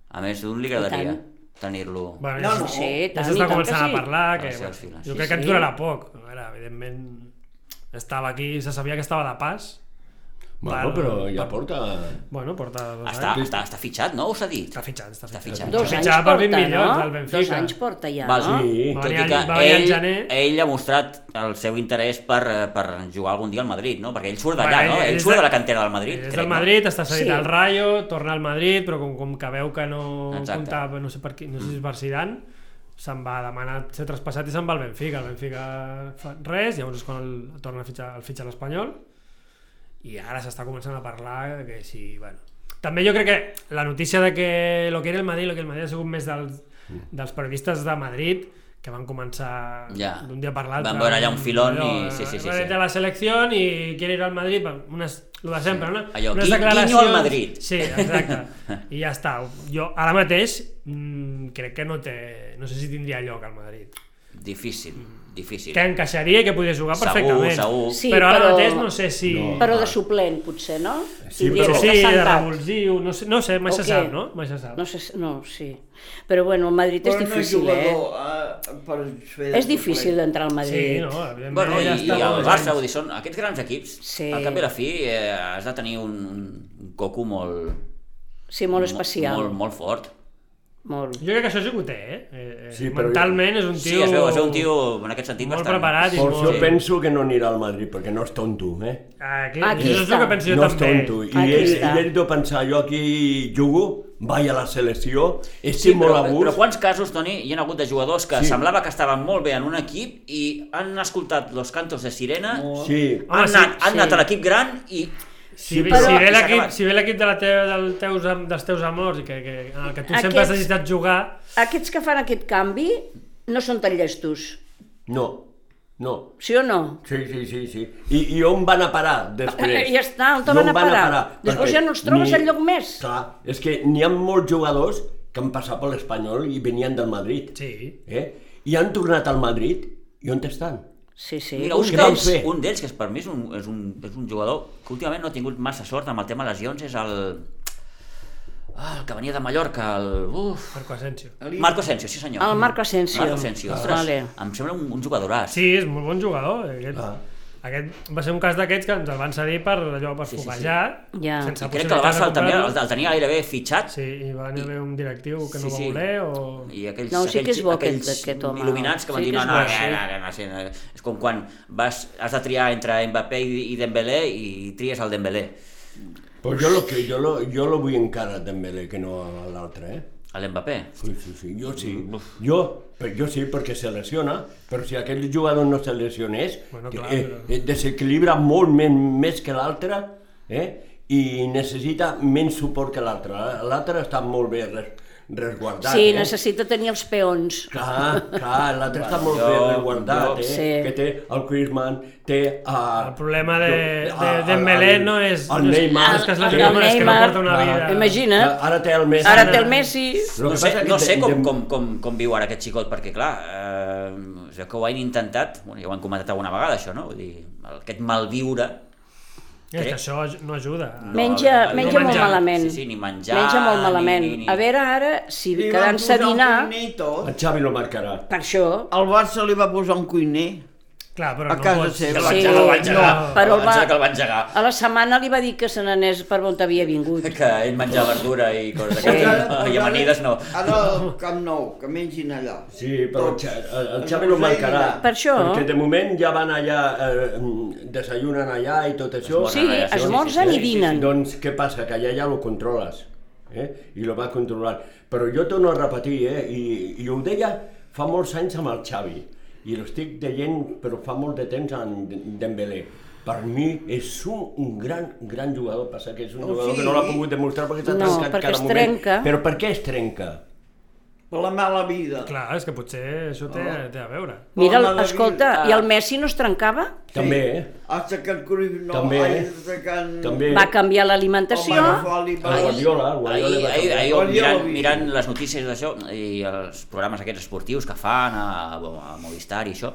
A més, d'un li agradaria tenir-lo... Bueno, No, ja no. s- Sí, ja tant, i s'està tant que començant sí. a parlar, que Gràcies, bueno, Fila. jo Sí, crec que ens sí. durarà poc. A veure, evidentment, estava aquí, se sabia que estava de pas. Bueno, però ja porta... Bueno, porta dos Està, anys. està, està fitxat, no? Us ha dit? doncs Està fitxant, està Està fitxant. fitxant. Dos Fitxar anys per porta, 20 milions no? al Benfica. Dos anys porta ja, Val, no? Tot Sí. i Va venir que al- va venir al ell, gener. ell ha mostrat el seu interès per, eh, per jugar algun dia al Madrid, no? Perquè ell surt d'allà, Bueno, no? ell Ell és surt de de- la cantera del Madrid, És crec, del Madrid, està cedit Sí. al Rayo, torna al Madrid, però com, com que veu que no Exacte. comptava, no sé, per qui, no sé si és per Zidane, se'n va demanar ser traspassat i se'n va al Benfica. El Benfica fa res, llavors és quan el, torna a fitxar, el fitxa a l'Espanyol, i ara s'està començant a parlar que si, bueno... També jo crec que la notícia de que lo que era el Madrid, lo que el Madrid ha sigut més dels, dels periodistes de Madrid, que van començar Ja. d'un dia per Van l'altre. veure allà un filón Allò, i- sí, sí, sí, eh, sí. de la selecció i quiere ir al Madrid, va, unes, lo de sempre, no? Allò, unes qui- declaracions... quinyo al Madrid. Sí, exacte. I ja està. Jo ara mateix mm, crec que no té... No sé si tindria lloc al Madrid. no? Difícil, difícil. Que encaixaria i que podria jugar Segur, perfectament. segur. Sí, però ara però- mateix no sé si... No. Però de suplent, potser, no? Sí, Tindria però- que Sí, estar de sentat. revulsiu, no sé, no sé mai O se què? sap, no? Mai se sap. No sé, si- no, sí. Però bueno, el Madrid és Però no és difícil, eh? jugador, eh? Per fer de És difícil eh? suplent. d'entrar al Sí, Madrid. no, evidentment. Bueno, i, ja i està, el doncs. Barça, vull dir, són aquests grans equips. Sí. Al cap i a la fi eh, has de tenir un, un coco molt... Sí, molt especial. Molt, molt fort. Molt. Jo crec que això sí que ho té, eh? eh, eh Sí, sí, però- mentalment és un Sí, tio... es veu, es veu un tio, en aquest sentit, Molt bastant... preparat i Por molt... això penso que no anirà al Madrid, perquè no és tonto, eh? Aquí, Aquí Ah, això és el està. que penso jo no és també. tonto. I Aquí ell, està. ell ell deu pensar, jo aquí jugo, vaig a la selecció, Sí, estic però, molt a gust... però quants casos, Toni, hi ha hagut de jugadors que sí. semblava que estaven molt bé en un equip i han escoltat los cantos de sirena, Molt. Sí, Home, han, sí, anat, han Ah, sí. anat a l'equip gran i... Si, ve- però- si ve i s'ha l'equip acabat. si ve l'equip de la teva, del teus, am- dels teus amors i que, que, en el que tu sempre has Aquests- necessitat jugar Aquests que fan aquest canvi no són tan llestos, no, no. sí o no? Sí, sí, sí, sí. I, i on van a parar després? Eh, Ja està, on te van a van parar? Després Perquè ja no els trobes enlloc més. Clar, és que n'hi ha molts jugadors que han passat per l'Espanyol i venien del Madrid. Sí. Eh? I han tornat al Madrid i on estan? Sí, sí. Mira, un un què van d'ells, fer? un d'ells, que és per mi és un, és, un, és un jugador que últimament no ha tingut massa sort amb el tema lesions, és el... Ah, el que venia de Mallorca, el... Uf, Marco Asensio. Marco Asensio, sí senyor. Ah, El Marco Asensio. Marco Asensio. Ah. Ostres, Vale. Em sembla un, un jugadoràs. Sí, és molt bon jugador. eh, Aquest, ah. aquest va ser un cas d'aquests que ens el van cedir per allò per Sí, sí, sí. foguejar. Ja. I I crec que el Barça el tenia, el, el tenia gairebé fitxat Sí, i va anar bé un directiu que no Sí, va sí. voler o... i aquells, No, sí que aquells, és bo aquest- aquells aquest home. il·luminats que van Sí dir que no, no, és bo, no, sí. no, no, no, sí, no, és com quan vas, has de triar entre Mbappé i, i Dembélé i tries el Dembélé Pues jo, lo que, jo, lo, jo lo vull encara Dembélé que no a l'altre, eh? el Mbappé Sí, sí, sí, jo sí. Jo, per, jo sí, perquè se lesiona, però si aquest jugador no se lesionés, Bueno, bueno, clar, eh, però- eh, desequilibra molt men, més que l'altre, eh? i necessita menys suport que l'altre. L'altre està molt bé res, resguardat. Sí, eh? necessita tenir els peons. Clar, clar, l'altre està molt jo- bé resguardat, jo- eh? Sí. Que té el Griezmann, té... Uh, El problema de, de, Dembélé no és... El no és- Neymar. No és que es El- el lesiona, és que no Neymar. porta una vida... Imagina't. Ara té el Messi. Ara té el Messi. Lo no que sé, passa que no sé de- com, de- com, com, com viu ara aquest xicot perquè clar eh, és que ho han intentat bueno, ja ho han comentat alguna vegada això no? Vull dir, el- aquest malviure És que això no ajuda. Menja, no menja molt menjar. malament. Sí, sí, ni menjar, Menja molt ni- malament. ni- ni- A veure ara, si Li van quedant-se a posar un dinar, cuiner i tot. El Xavi lo marcarà. per això... El Barça li va posar un cuiner. Clar, però A no casa pots... seva. que el va Sí, engegar, el va engegar, no, però el va va- engegar, que el va engegar A la setmana li va dir que se n'anés per on [laughs] havia vingut. que ell menjava verdura i coses Sí. d'aquestes no? Ah, i amanides no Ara al Camp Nou, que mengin allà. Sí, però el, Tots. Xa- el, el Xavi no marcarà. Per això. Perquè de moment ja van allà, eh, mm, desayunen allà i tot això. Esmorzen. Sí, esmorzen i dinen. Doncs què passa? Que allà ja ho controles. Eh? I lo va controlant. Però jo torno a repetir, eh? I, i ho deia fa molts anys amb el Xavi. I ho estic deient, però fa molt de temps, en Dembélé. Per mi és un, un gran, gran jugador. Passa que és un Oh, jugador sí? que no l'ha pogut demostrar perquè s'ha No, trencat perquè cada es moment. trenca. Però per què es trenca? per la mala vida. Clar, és que potser això té, Oh. té a veure. Mira, Bona vida. escolta, i el Messi no es trencava? També, eh? Hasta que el Cruyff no També, eh? hagi atacat... També. Va canviar El l'alimentació? Marafoli va... El Ah, Guardiola, el Ahir, Guardiola va ahir, canviar. ahir, Guardiola mirant, vi- mirant les notícies d'això i els programes aquests esportius que fan a, a Movistar i això,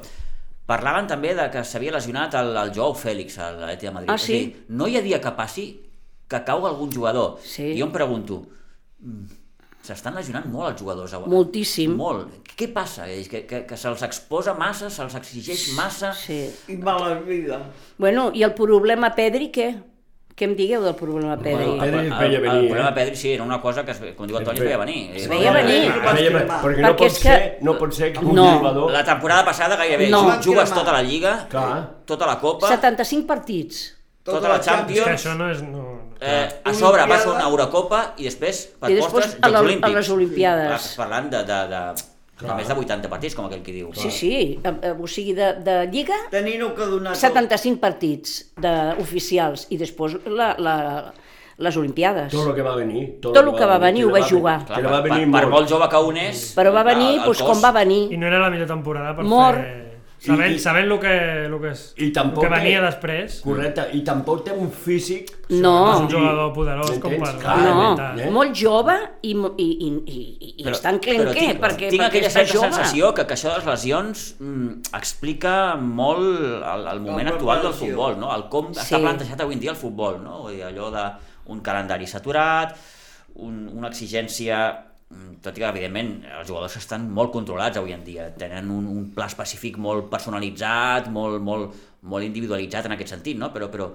parlaven també de que s'havia lesionat el, el Joao Fèlix a l'Atleti de Madrid. Ah, O sigui, no hi ha dia que passi que cau algun jugador. Sí. I jo em pregunto, mm, s'estan lesionant molt els jugadors avui. Moltíssim. Molt. Què passa? És que, que, que se'ls exposa massa, se'ls exigeix massa... Sí. I mala vida. Bueno, i el problema Pedri, què? Què em digueu del problema Pedri? Bueno, el, Pedri Bueno, es veia el, venir, el problema eh? Pedri sí, era una cosa que, es- com diu el Toni, es veia venir. Es Eh, veia No, venir. no, no, veia venir, Perquè no Perquè pot és ser, que- no pot ser que un No. jugador... La temporada passada gairebé No. no. jugues Cremar. tota la Lliga, Clar. tota la Copa, 75 partits. tota la És que Champions, això no és... No... eh, a sobre vas a una Olimpiada. Eurocopa i després per I després postres a la- Jocs Olímpics. a les Olimpiades. Clar, estàs parlant de, de, de, de més de 80 partits, com aquell qui diu. Sí, sí, eh, eh, o sigui, de, de Lliga, Tenint-ho que donar tot. 75 partits de, oficials i després la, la, les Olimpiades. Tot el que va venir. Tot lo que va venir ho va jugar. Clar, Que va per, venir per, per molt molt. jove que un és... Però va clar, venir el doncs, cos- com va venir. I no era la millor temporada per Mor. fer... Sabent, I- sabent lo que, lo que, és, I lo tampoc que venia té- després, Correcte, i tampoc té un físic... és No, un jugador poderós com M'entens? per... Clar, no, Ah, eh? molt jove i, mo- i, i, i, i Però- està en però clenquer, tinc- perquè, tinc perquè aquella està certa jove. sensació que, que això de les lesions mm, explica molt el, el moment La actual del preparació. futbol, no? el com Sí. està plantejat avui en dia el futbol, no? Vull dir, allò de un calendari saturat, un, una exigència mm, tot i que, evidentment, els jugadors estan molt controlats avui en dia, tenen un, un pla específic molt personalitzat, molt, molt, molt individualitzat en aquest sentit, no? però, però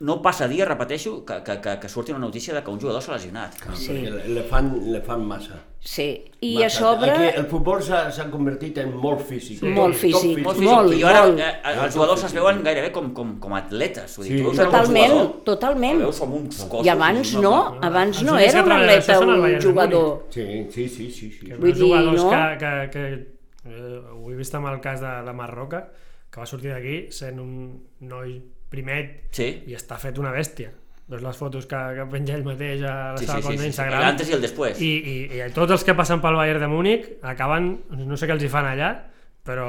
no passa dia, repeteixo, que, que, que, que surti una notícia de que un jugador s'ha lesionat. Sí. Sí. Le, fan, le fan massa. Sí, i massa. a sobre... Aquí el futbol s'ha s'ha convertit en molt físic. Sí. Molt físic, Molt físic. físic. Molt, I ara molt. eh, els jugadors es veuen gairebé com, com, com atletes. Vull dir, Sí. tu veus Totalment, un jugador, totalment. el Veus com uns cossos, I abans una- no, una- abans Els no únics era que un treballen atleta, això són el un Bayern de jugador. Sí, sí, sí, sí. sí. Vull Vull dir, jugadors no? que, que, que eh, ho he vist amb el cas de, de Marroca, que va sortir d'aquí sent un noi primet Sí. i està fet una bèstia. Doncs les fotos que, que penja ell mateix a la Sí, sí, seva sí, sí, compte sí. d'Instagram. El antes i el després. I, i, I tots els que passen pel Bayern de Múnich acaben, no sé què els hi fan allà, però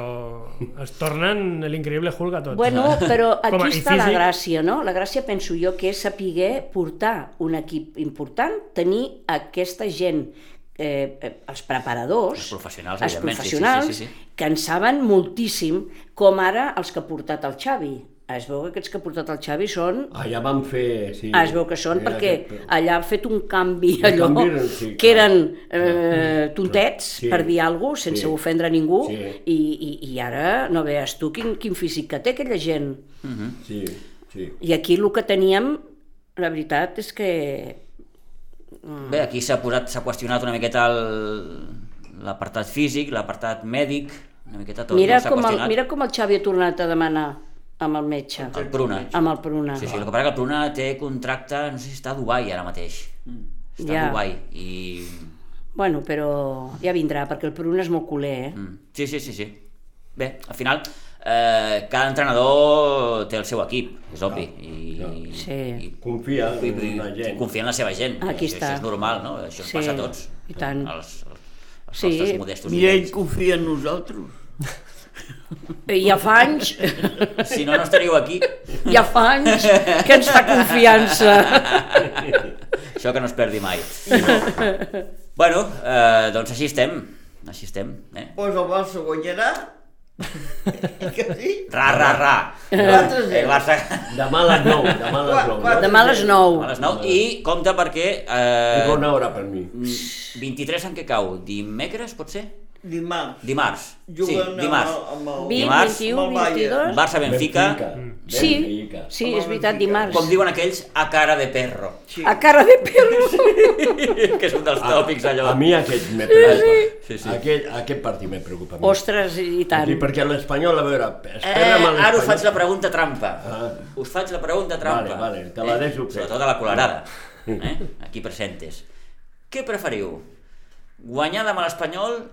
es tornen l'increïble Hulk a tots. Bueno, eh? però Com a- i aquí està la físic. gràcia, no? La gràcia, penso jo, que és saber portar un equip important, tenir aquesta gent, eh, eh, els preparadors, Els professionals, els evidentment, sí, sí, professionals sí, sí, sí. que en saben moltíssim, com ara els que ha portat el Xavi. Es veu que aquests que ha portat el Xavi són Allà van fer... Sí. Ah, es veu que són Era perquè aquest, però- allà han fet un canvi Un allò, canvi, doncs, sí, que clar. eren eh, tontets, Sí. per dir alguna cosa, sense Sí. ofendre a ningú, Sí. i, i, i ara no veus tu quin, quin físic que té aquella gent. Sí, sí. I aquí el que teníem, la veritat és que... Bé, aquí s'ha posat, s'ha qüestionat una miqueta el- l'apartat físic, l'apartat mèdic, una miqueta tot. mira, no? S'ha com el, qüestionat. mira com el Xavi ha tornat a demanar amb el metge, El Pruna. amb el Pruna. Sí, sí, el que passa que el Pruna té contracte, no sé si està a Dubai ara mateix. Mm, Està Ja. a Dubai i... Bueno, però ja vindrà, perquè el Pruna és molt culer, eh? Mm. Sí, sí, sí, sí. Bé, al final, eh, cada entrenador té el seu equip, és obvi. I, Sí. i Confia en la gent. confia en la seva gent. Aquí això, està. Això és normal, no? Això ens Sí, passa a tots. i tant. Els, els, els Sí. nostres modestos I ell nivells. confia en nosaltres. I ja fa anys, Si no, no estaríeu [laughs] aquí. ja fa anys que ens fa confiança. Això que no es perdi mai. bueno, eh, doncs així estem. Així estem, eh? Pues el Barça guanyarà. que sí? Ra, ra, ra. 4-0. Eh, Barça... Demà a les 9, demà a les 9. Quatre- No? Demà a les [laughs] 9. A les 9. I compte perquè... És Eh, bona hora per mi. 23 en què cau? Dimecres, potser? Dimarts. Dimarts. Sí, Juguen dimarts. Amb, el, amb el... Vint, Dimarts, amb 21, el Bayern. 22... Barça-Benfica. Sí, Benfica. Mm. sí, Home, és veritat, Benfica. dimarts. Com diuen aquells, a cara de perro. Sí. A cara de perro. [laughs] que és un dels tòpics, allò. Ah, A mi aquest me preocupa. Sí, sí. Aquest, aquest partit me preocupa. molt. Ostres, i tant. Sí, perquè l'Espanyol, a veure, Eh, espera amb ara us faig l'Espanyol. la pregunta trampa. Ah. Us faig la pregunta trampa. Vale, vale, te la deixo eh? fer. Sobretot a la colorada. Eh? Aquí presentes. Què preferiu? Guanyar demà l'Espanyol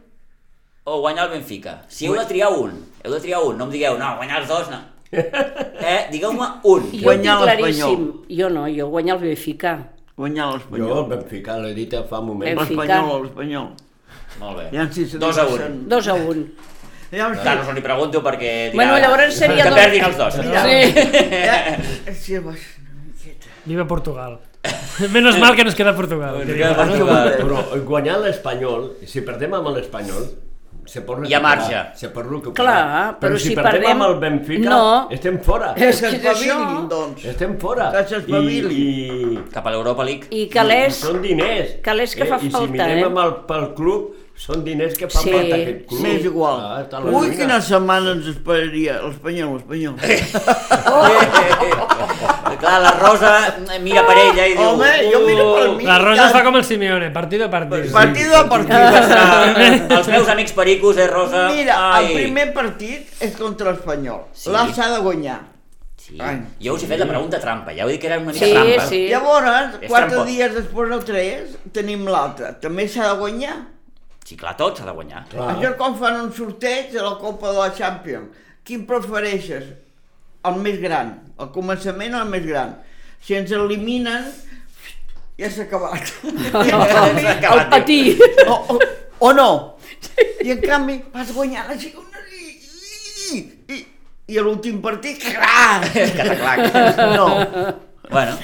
o guanyar el Benfica? Si heu de triar un, heu de triar un, no em digueu, no, guanyar els dos, [laughs] no. Eh, Digueu-me un. Jo Guanyar ho tinc l'Espanyol. claríssim. Jo no, jo guanyar el Benfica. Guanyar Jo l'Espanyol. el Benfica l'he dit fa un moment. Benfica. L'Espanyol, l'Espanyol. Molt bé. Aviam si se dos a un. passen. Dos a un. Aviam si... Clar, no se li pregunto perquè... Dirà, Bueno, llavors seria Que dos- perdin els dos. Mira. Eh, si abaixa una miqueta. Viva Portugal. [laughs] Menos mal que nos queda Portugal. Ens queda Portugal. eh. Però guanyar l'Espanyol, si perdem amb l'Espanyol, se pot recuperar. Hi ha marge. Se pot recuperar. Clar, però si, si perdem, perdem- amb el Benfica, No. Eh. estem fora. És Que que és s'espavilin, això. doncs. Estem fora. Que s'espavilin. I, i, Cap a l'Europa League. I calés... Són diners. calés que fa I falta, si mirem eh? amb el, pel club, són diners que fa Sí. falta aquest club. M'és igual. Ah, està a la Ui, Lliga. quina setmana ens esperaria l'Espanyol, l'Espanyol. Oh! Clar, la Rosa mira per ella i diu... Home, jo miro per mi. La Rosa es fa com el Simeone, partido a partido. Partido a "Ah, partido. [laughs] els meus amics pericos, eh, Rosa? Mira, Ai. el primer partit és contra l'Espanyol. Sí. L'A s'ha de guanyar. Sí. Ai. Jo us he fet la pregunta trampa, ja ho he dit que era una mica Sí, trampa. sí. Llavors, És quatre trampot. dies després del 3, tenim l'altre. També s'ha de guanyar. Sí, clar, tot s'ha de guanyar. Clar. Això quan fan un sorteig de la Copa de la Champions. Quin prefereixes? El més gran. El començament o el més gran? Si ens eliminen, ja s'ha acabat. [laughs] S'ha acabat, El patí. [laughs] o, o, o no. I en canvi vas guanyar la segona i, i, i, i a l'últim partit, clar! diu. Cataclac. No, bueno,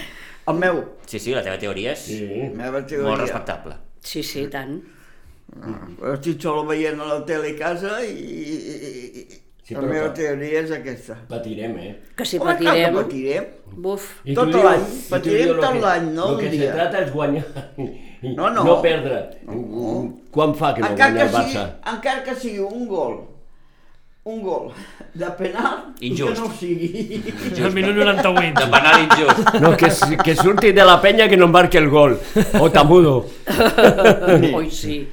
el meu, sí, sí, la teva teoria és Sí. la meva teoria. molt respectable. Sí, sí, tant. Però estic sol veient a la tele a casa i, i, i- i Sí, la però meva que- teoria és aquesta. Patirem, eh? Que si Home, clar que patirem... patirem. Buf. I Tot tu dius- l'any, i tu patirem dius lo tot que- l'any, no Lo un que se dia. trata és guanyar. No, no. No perdre. Quan fa que no Encara guanya que, el sigui, Barça? encara que sigui un gol, un gol de penal Injust. i que no ho Mm. sigui. El minut 98. De penal injust. No, que, s- que surti de la penya que no marque el gol. O tamudo. Oi, sí.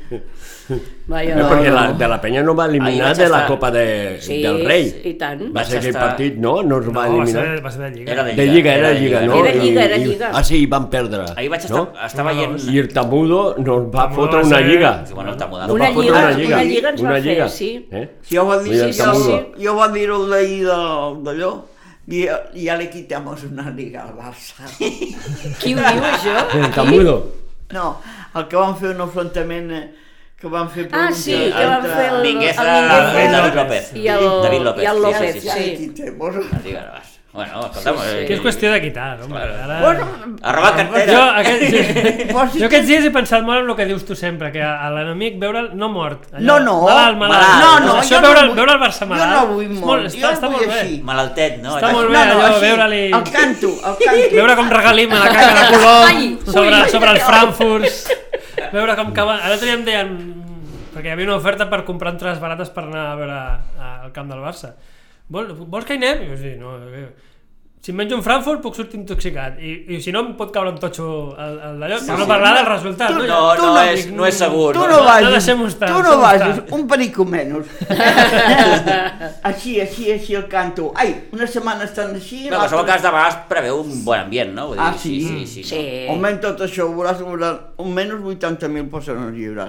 Vaja. No, perquè la, de la penya no va Ahir eliminar vaig de la estar- Copa de, Sí, del Rei. i tant. Va Vaig ser aquell estar- partit, no? No es va No, va eliminar. ser, va ser de Lliga. Era de De Lliga, era de Lliga, no? Era Lliga, I- era i- Lliga. Ah, sí, van perdre. Ahir vaig estar, no? estar veient... I el Tamudo nos va Tamudo fotre va una ser- lliga. Sí, bueno, el Tamudo. Nos Una va fotre lliga, una lliga. una lliga ens va Una fer, lliga. sí. Eh? Si jo va dir, Vull dir, sí, el jo, Tamudo. jo va dir-ho d'ahir del- d'allò, i ja, ja li quitamos una liga al Barça. [laughs] Qui ho diu, això? El Qui? Tamudo. No, el que van fer un enfrontament eh, que van fer Ah, Doncs, sí, que El- van fer el... Mingueza, el Mingueza eh, David López. I el, David López. I el López, Sí, sí, sí. sí. Quitemos. Lliga, no vas. Bueno, escolta'm... Sí, sí. eh, Que és qüestió de quitar, home. Ara... Bueno, Ha robat cartera. Jo, [laughs] aquest... Vols dir jo aquests dies he pensat molt en el que dius tu sempre, que a l'enemic veure'l no mort. No, no. Malalt, malalt. Malalt. Doncs No, no, Això jo no veure'l, vull- veure'l Barça jo malalt. no vull és mort, jo està, el està vull molt així. [laughs] Malaltet, no? Està molt bé. No, no, allò, així, veure-li- El canto, el canto. [laughs] bé. Veure com regalim a la caca de Ai, Colom sobre, ui. sobre els Frankfurts. Veure com acaba... L'altre dia em deien... Perquè hi havia una oferta per comprar entrades barates per anar a veure eh, el camp del Barça. Vol, vols que hi anem? I jo sí, no, bé. Si em menjo un Frankfurt puc sortir intoxicat i, i si no em pot caure un totxo al, al d'allò per no parlar del resultat no? No, no, és, no és segur. Tu no. no no vagis, deixem-ho estar, tu no deixem-ho vagis, estar. un perico [laughs] menys. així, així, així el canto. Ai, una setmana estan així... No, en qualsevol cas, de vegades preveu un bon ambient, no? Vull dir, Ah, sí? Sí, sí, sí. Sí. Almenys tot això ho veuràs, ho veuràs almenys 80.000 persones hi haurà.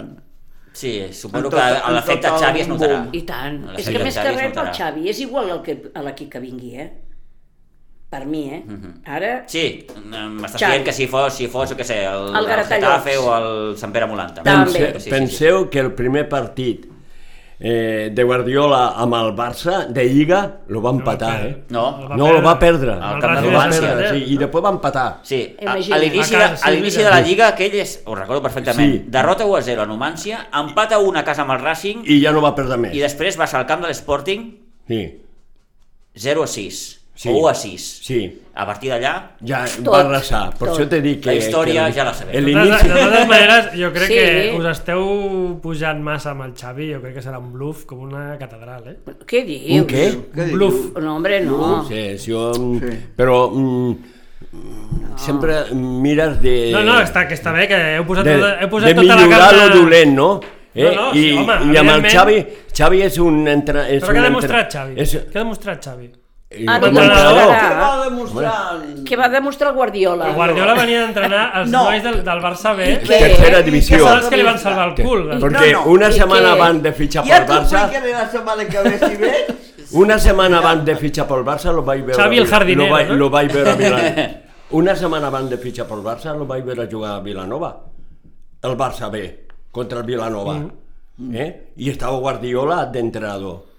Sí, suposo En que tot- en l'efecte tot el Xavi es notarà. boom. I tant. La És Xavi que més que Xavi es res pel notarà. Xavi és igual al que, a l'equip que vingui, eh? Per mi, eh? Mhm. Ara... Sí, mm, m'estàs Xavi. dient que si fos, si fos, jo què sé, el, El Garatallops. Getafe o el Sant Pere Molant. També. Pense, penseu que el primer partit eh, de Guardiola amb el Barça de Lliga lo va empatar, eh? No, No, lo va perdre. Al El Camp Barça de Lo va València. perdre, sí, i després va empatar. Sí, a, Imagina't. a l'inici de, Vacances, a l'inici de mira. la Lliga aquell és, ho recordo perfectament, Sí. derrota 1 a 0 a Numància, empat a 1 a casa amb el Racing i, I ja no va perdre més. després vas al camp de l'Sporting Sí, 0 a 6 Sí. o 1 a 6. sí. A partir d'allà, Ja Tot, va arrasar. Per tot. això t'he dit que... La història que ja la sabem. De totes, L'inici... de totes maneres, jo crec Sí. sí. que us esteu pujant massa amb el Xavi, jo crec que serà un bluff com una catedral, eh? Què dius? Un què? Un bluff. No, hombre, no. Sí, sí, jo... Sí. Però... Mm, Sempre mires de... No, no, està, que està bé, que heu posat, Eh, de, tota, heu posat de tota la millorar carta... lo dolent, no? Eh? No, no, sí, I, home, I amb el evidentment. Xavi, Xavi és un... Entre, és Però què un ha entre- demostrat Xavi? doncs És, Què ha demostrat Xavi? Ah, un no, entrenador. no, no, Què Ah. va demostrar? Què va demostrar el Guardiola? El Guardiola venia d'entrenar els No. nois del, del Barça B, què? que Tercera I divisió. són els que li van salvar el cul. Que- doncs. Perquè No, no, una i setmana que- abans de fitxar Ja pel t'ho Barça, explicaré la setmana que ve, si ve. una setmana abans de fitxar pel Barça lo vaig veure... Xavi el a Vila- jardinero, Lo vaig, no? lo vaig veure a Vilanova. [laughs] Una setmana abans de fitxar pel Barça lo vaig veure jugar a Vilanova. El Barça B, contra el Vilanova. Mm. eh? i estava Guardiola d'entrenador.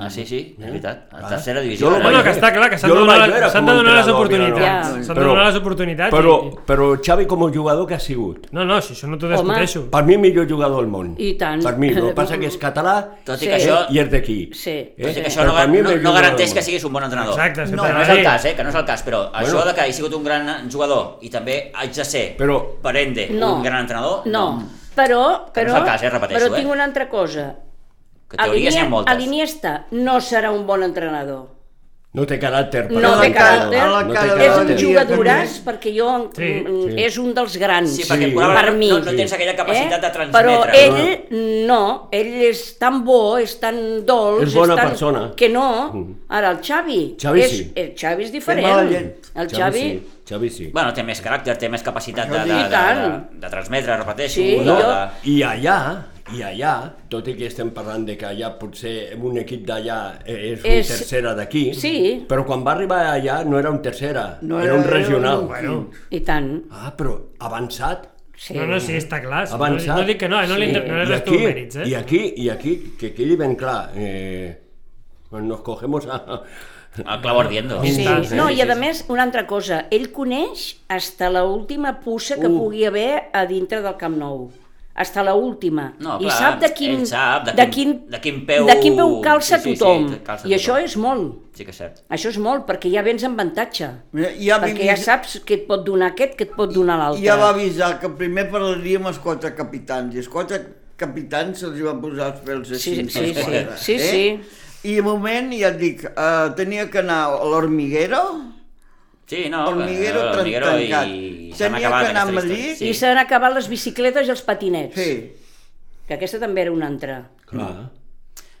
Ah, sí, sí, és veritat. A Ah. tercera Jo divisió. No, lo no, vaig que veure- està clar, que s'han jo de lo donar, vaig veure s'han com de a donar les entrenador, oportunitats. Ja. S'han de donar les oportunitats. Però, i- però Xavi com a jugador que ha sigut? No, no, si això no t'ho Home. discuteixo. Per mi millor jugador del món. I tant. Per mi, el que passa que és català eh, Tot i Sí. que això, i és d'aquí. Eh? Sí. tot i que això Però no, per mi no, millor no garanteix jugador que del siguis un bon entrenador. Exacte, no, sempre no és va el dir. cas, eh, que no és el cas, però bueno. això Bueno. de que he sigut un gran jugador i també haig de ser, Però- per ende, No. un gran entrenador, No, però, Que no és però, el cas, eh, repeteixo, però eh. tinc una altra cosa. que teories n'hi ha moltes. A l'Iniesta no serà un bon entrenador. món. No té caràcter. per No mi. té caràcter. No té És És un Iniesta caràcter. jugadoràs també. perquè jo sí, Sí, sí. és un dels grans. Sí, perquè Sí. probablement per mi. Eh? no, no tens aquella capacitat de transmetre. Però ell no, ell és tan bo, és tan dolç, És bona tan... persona. que no. Mm. Ara el Xavi, Xavi és, sí. el Xavi mala és diferent. llet. El Xavi, sí, Xavi sí. Bueno, té més caràcter, té més capacitat de, Això de, sí, de, i de, tant. de transmetre, repeteixo. Sí, de, No, jo- de- I allà, i allà, tot i que estem parlant de que allà potser en un equip d'allà eh, és, És- és un tercera d'aquí, Sí. però quan va arribar allà no era un tercera, No no era, era- un regional. era Bueno, i tant. Ah, però avançat. Sí. no, no, sí, està clar. sí, Avançat. No, no dic que no, eh, no, li, no li I resto aquí, mèrits, eh? i aquí, i aquí, que quedi ben clar, eh, nos cogemos a... El clau ardiendo. Sí. Sí, eh, tant, sí, no, sí, i a més, una altra cosa, ell coneix hasta la última puça Uh. que pugui haver a dintre del Camp Nou. Hasta la última. No, I clar, sap de quin, ell sap de quin- de quin peu- de quin peu calça Sí, sí, sí, tothom. calça I això tothom. és molt. Sí que és cert. Això és molt, perquè ja vens amb avantatge. Mira, ja perquè ja saps que et pot donar aquest, que et pot donar l'altre. Ja va avisar que primer parlaríem els quatre capitans, i els quatre capitans se'ls van posar els pèls així. Sí, els sí, sí, quatre, sí, sí. eh? I de moment, ja et dic, eh, tenia que anar a l'Hormiguero, Sí, no, Hormiguero eh, Hormiguero tan- tancat. i... Tenia se n'ha que acabat anar a aquesta Madrid història, I s'han acabat les bicicletes i els patinets. sí, Que aquesta també era una altra. Clar.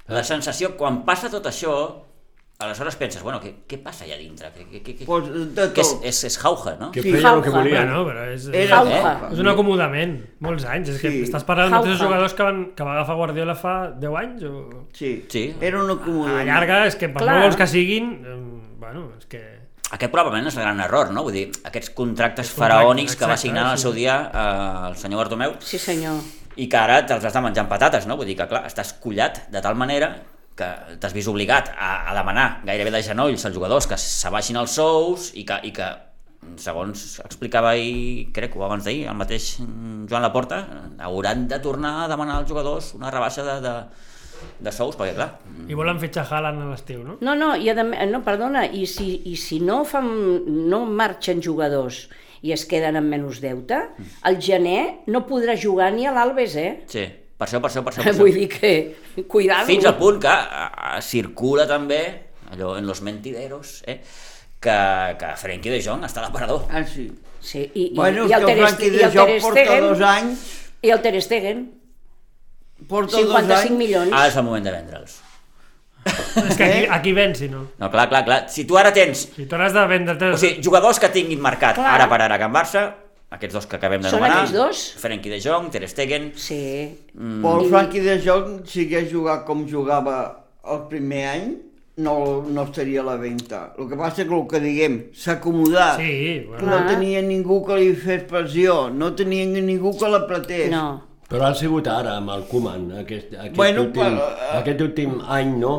La sensació, quan passa tot això, aleshores penses, bueno, què, què passa allà dintre? Què, què, què, pues, de que és, tot. és, és jauja, no? Que Sí, feia el que jauja. volia. Bueno, però és... Era Jauja. eh? Jauja. És un acomodament, molts anys. És que Sí. estàs parlant dels mateixos Jauja. jugadors que, van, que va agafar Guardiola fa 10 anys? O... Sí. Sí. Ah, Era un A la acomodament. llarga, és que per Clar. molt bons que siguin... eh, Bueno, és que... Aquest probablement és el gran error, no? Vull dir, aquests contractes faraònics que va exacte, signar en el sí. seu dia eh, el senyor Bartomeu Sí, senyor. i que ara te'ls has de menjar amb patates, no? Vull dir que, clar, estàs collat de tal manera que t'has vist obligat a, a demanar gairebé de genolls als jugadors que s'abaixin els sous i que, i que segons explicava ahir, crec, o abans d'ahir, el mateix mm, Joan Laporta, hauran de tornar a demanar als jugadors una rebaixa de, de, de sous, perquè, clar, I volen fitxar Haaland a l'estiu, no? No, no, i a de- no, perdona, i si, i si no, fan, no marxen jugadors i es queden amb menys deute, el gener no podrà jugar ni a l'Albes, eh? sí, per això, per això, per això. Per això. Vull dir que, cuidar-lo. Fins al punt que a, a, circula també, allò en los mentideros, eh, que, que Frenkie de Jong està a l'aparador. Ah, sí. Sí, i, i, Bueno, i és el que el Ter, Franqui Stegen- i de el Joc Ter porta Stegen, dos anys, i el Ter Stegen, porta dos 55 anys. Ah, milions. Ara Ah, és el moment de vendre'ls. És que aquí, Eh? aquí ven, si no. No, clar, clar, clar. Si tu ara tens Si t'hauràs de vendre... o sigui, jugadors que tinguin marcat Clar. clar. ara per ara a Can Barça, aquests dos que acabem de Són nomenar, aquells dos? Frenkie de Jong, Ter Stegen... Sí, Però Mm. el Franqui de Joc, si hagués jugat com jugava el primer any, no, no estaria a la venda. El que passa és que el que diguem, s'acomodar. Sí, bueno. No Clar. tenia ningú que li fes pressió, no tenia ningú que l'apretés. no. Però ha sigut ara amb el Koeman, aquest, aquest, Bueno, últim, però, eh, aquest últim any, no?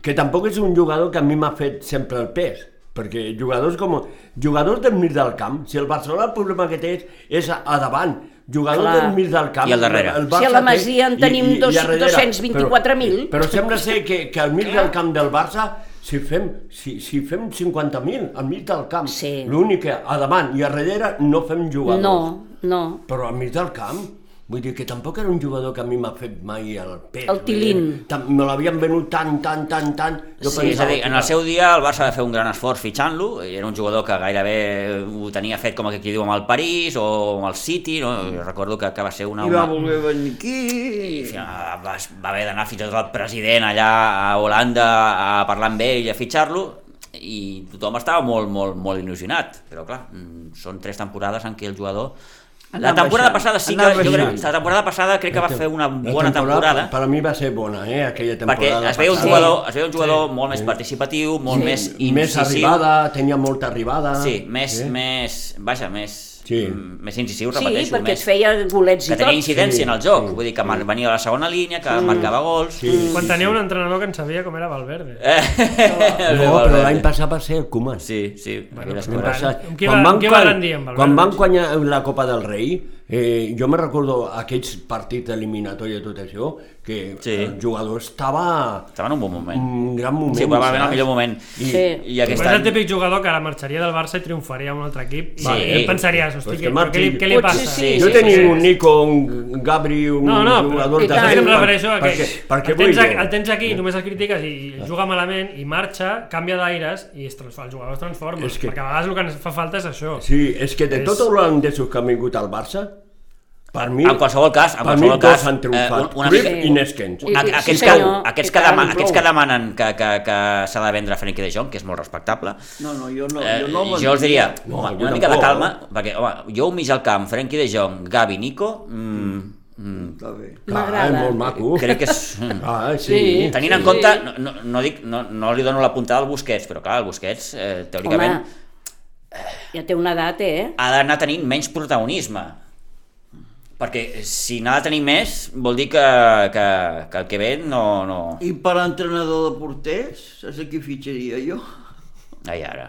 Que tampoc és un jugador que a mi m'ha fet sempre el pes, perquè jugadors com... Jugadors del mig del camp, si el Barcelona el problema que té és, és a, a davant, jugadors Clar. del mig del camp... I al darrere. Si a la Barça té- Masia en tenim dos- a darrere. 224.000. Però, però sembla ser que, que al mig del camp del Barça, si fem, si, si fem 50.000 al mig del camp, Sí. l'únic que a davant i a darrere no fem jugadors. No, no. Però al mig del camp, vull dir que tampoc era un jugador que a mi m'ha fet mai el pes. El Tilín. Vull dir, tam- Me l'havien venut tant, tant, tant, tant... jo Sí, és a pensava, dir, en el seu dia el Barça va fer un gran esforç fitxant-lo, era un jugador que gairebé ho tenia fet com aquí diu amb el París o amb el City, no? Jo recordo que, que va ser una, I va una, voler venir I aquí. fi- ah, va, va haver d'anar fins i tot el president allà a Holanda a parlar amb ell, a fitxar-lo, i tothom estava molt, molt, molt il·lusionat. Però clar, mm, són tres temporades en què el jugador... La Anava temporada baixant, passada sí que... anava Jo crec, baixant. la temporada passada crec que va fer una bona temporada. Per a mi va ser bona, eh, aquella Perquè temporada. es veia un passada. jugador, es veia un jugador molt més participatiu, molt més Més incisiu. arribada, tenia molta arribada. Sí, més, eh? més, vaja, més Sí. mm, més incisius, Sí, repeteixo, perquè més, et feia golets que i tot. tenia incidència Sí. en el joc, vull dir que mar- venia a la segona línia, que marcava gols... Sí. Quan tenia un entrenador que en sabia com era Valverde. Eh, [laughs] No, però l'any passat va ser el Coman. Sí, sí, bueno, L'any però- passat, Amb qui quan va- van amb qui guany- va rendir, amb el Quan van Valverde? guanyar la Copa del Rei, eh, jo me recordo aquells partits eliminatòria i tot això, que Sí. el jugador estava estava en un bon moment. en un gran moment. Sí, va haver el saps? millor moment. I- Sí. I Aquest aquest és el any... típic jugador que ara marxaria del Barça i triomfaria a un altre equip i, Sí. i pensaries, hosti, Pues que què, marxi. què, li, què li Potser passa? sí. Jo sí, tenia sí. un Nico, un Gabri, un No, no, jugador de... i tant. Clar, Sí, em per- refereixo a que perquè, perquè el, tens, vull dir- el tens aquí, només el critiques i i juga malament i marxa, canvia d'aires i es transforma, el jugador es transforma, És que- perquè a vegades el que ens fa falta és això. Sí, és que de És- tots els holandesos que han vingut al Barça, per mi... En qualsevol cas, en per mi qualsevol cas, dos han triomfat. eh, una- Cruyff Sí. i Neskens. I- A- i- Aquells, sí, que, senyor, aquests, i que, tant, dema, aquests que prou. demanen que, que, que s'ha de vendre Frenkie de Jong, que és molt respectable, No, no, jo no, eh, jo no jo els diria No, home, jo una mica de tampoc. calma, perquè home, jo un mig al camp, Frenkie de Jong, Gavi, Nico, mm, mm, Està bé. Clar, eh, M'agrada. molt maco. crec que és... mm. Ah, sí. Sí. Tenint en compte, no, no, no, dic, no, no li dono la puntada al Busquets, però clar, el Busquets, eh, teòricament, Home, ja té una edat, eh? ha d'anar tenint menys protagonisme. Perquè si n'ha de tenir més, vol dir que, que, que el que ve no... no... I per entrenador de porters, saps a qui fitxaria jo? Ai, ara.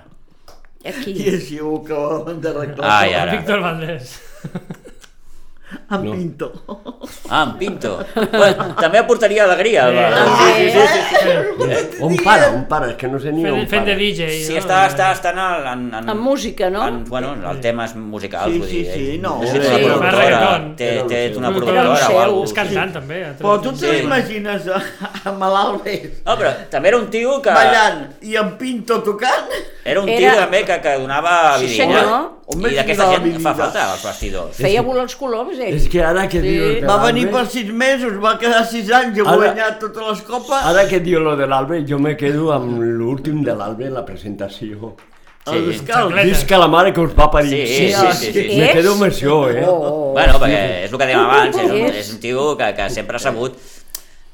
I Aquí. així ho acabaven d'arreglar. Ai, El ara. Víctor Valdés. Amb no. Pinto. Ah, en Pinto. Bueno, també aportaria Ah, alegria. El... Sí, sí, sí. Un pare, un pare, és que no sé ni Fent, on fent de para. DJ. Sí, no? està, està, està en, el- en, en, Amb música, no? En, bueno, en el tema és musical. Sí, vull dir, sí, sí, ell- no. És una Sí, productora, reggaeton. té, té una Productor productora o seu. alguna És cantant, també. ha tret- Però tu te Sí. l'imagines a, a Malalbes No, però també era un tio que... ballant i amb Pinto tocant? Era un tio Era- també que, que donava Sí, vidilla. senyor. Home, I d'aquesta donava gent fa vidilla. falta als vestidors. Feia volar els eh? coloms, ell. És que ara que Sí. diu... el de Va venir per l'Albert, sis mesos, va quedar sis anys i ha Ara- guanyat totes les copes. Ara que diu lo de l'Albe, jo me quedo amb l'últim de l'Albe, la presentació. El Sí. Biscal. Xaclet. Visca la mare que us va parir. Sí, sí, sí, sí. Me quedo amb això, eh? Oh, Bueno, perquè és el que dèiem abans, [laughs] és un, Sí. és un tio que, que sempre ha sabut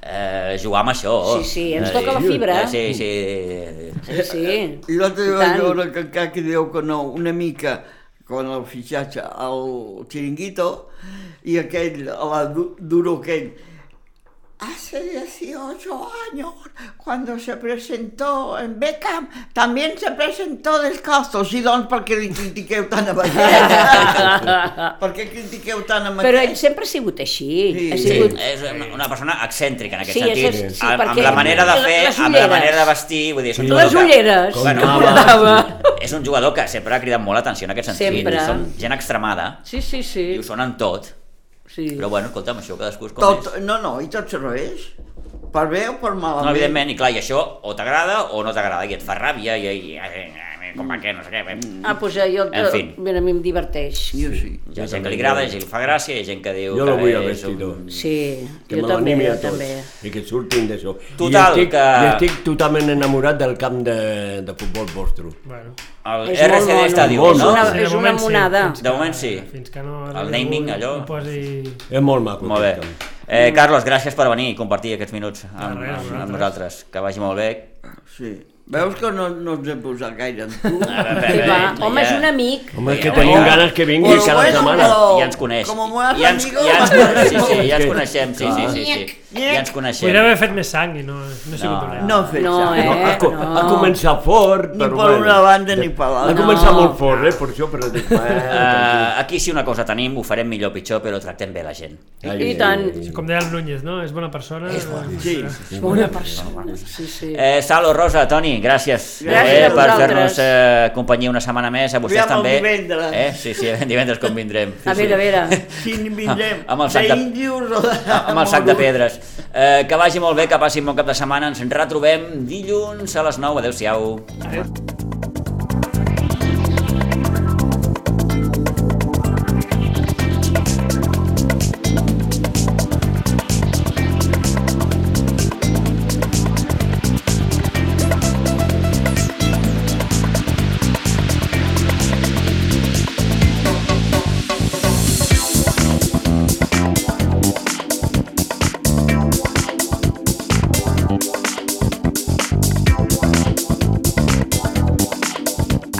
eh, jugar amb això. Sí, sí, ens Eh, toca la fibra. eh, Sí, sí. sí, sí. I l'altre I dia vaig tant. veure que encara que diu que no, una mica quan el fitxatge al Chiringuito i aquell, a la du- duro aquell, Hace 18 años, cuando se presentó en Beckham, también se presentó descalzo. Sí, doncs, per què li critiqueu tant a Beckham? [laughs] per què critiqueu tant a Però ell Beckham? sempre ha sigut així. Sí. Ha Sí, sigut... és una, una persona excèntrica en aquest Sí, sentit, és- sí, amb, amb perquè la manera de les fer, amb la ulleres. manera de vestir, vull dir, és un Sí. jugador Les que- ulleres Com que anava. portava. És un jugador que sempre ha cridat molt l'atenció en aquest sentit. Sempre. Són gent extremada, Sí, sí, i sí. ho són en tot, sí. però bueno, escolta'm, això cadascú és com Tot, és. no, no, i tot serveix. Per bé o per malament. No, evidentment, i clar, i això o t'agrada o no t'agrada, i et fa ràbia, i, i, i, i com va què, no sé què. bé. Ah, doncs jo... En fi. Mira, a mi em diverteix. Jo sí. Hi ha gent que li agrada, hi ha gent que li fa gràcia, hi ha gent que diu Jo que lo vull a és vestidor. un... Sí, Que jo me també, l'animi a jo tots. també. I que surtin d'això. Total, I estic, que- I estic totalment enamorat del camp de, de futbol vostre. Bueno. El És molt RCD mono. Stadium, Molt no? mono. Sí, de És una moment sí, monada. fins que- De moment sí. Fins que no... El naming, allò. Ho posi... És molt maco. Molt bé. aquest camp. Eh, Carlos, gràcies per venir i compartir aquests minuts amb, amb, res, amb vosaltres. nosaltres. Que vagi molt bé. Sí. Veus que no, no ens hem posat gaire en tu? [laughs] Ara, Sí, bé, va. bé, Home, ja. és un amic. eh, Home, que Ja, tenim ja. ganes que vingui Bueno, cada bueno, setmana. però- Ja ens coneix. Como buenos ja ens, amigos. ja ens coneix, sí, sí, ja ens Sí. coneixem, sí, sí, sí, sí. Ja ens Podria coneixem. haver fet més sang i no, no he sigut No, dolent. No ha fet No, sang. eh? No, ha, co- no. ha començat fort, Ni però per una banda ni per l'altra. Ha començat No. molt fort, eh, per això, però... [laughs] dic, bueno, tranquil. Uh, aquí sí una cosa tenim, ho farem millor o pitjor, però tractem bé la gent. Ai, I ai, tant. ai, ai. Com deia el Núñez, no? És bona persona. És bona. Sí. És bona persona. Sí, sí. Eh, Salo, Rosa, Toni, gràcies, eh, Gràcies per a vosaltres. fer-nos eh, companyia una setmana més, a vostès Aviam el també. divendres. Eh? Sí, sí, divendres com vindrem. Sí, A veure, a veure. Si n'hi vindrem Amb el sac de- d'índios o de... Ah, amb el sac de pedres. Eh, que vagi molt bé, que passin bon cap de setmana. Ens retrobem dilluns a les 9. Adéu-siau.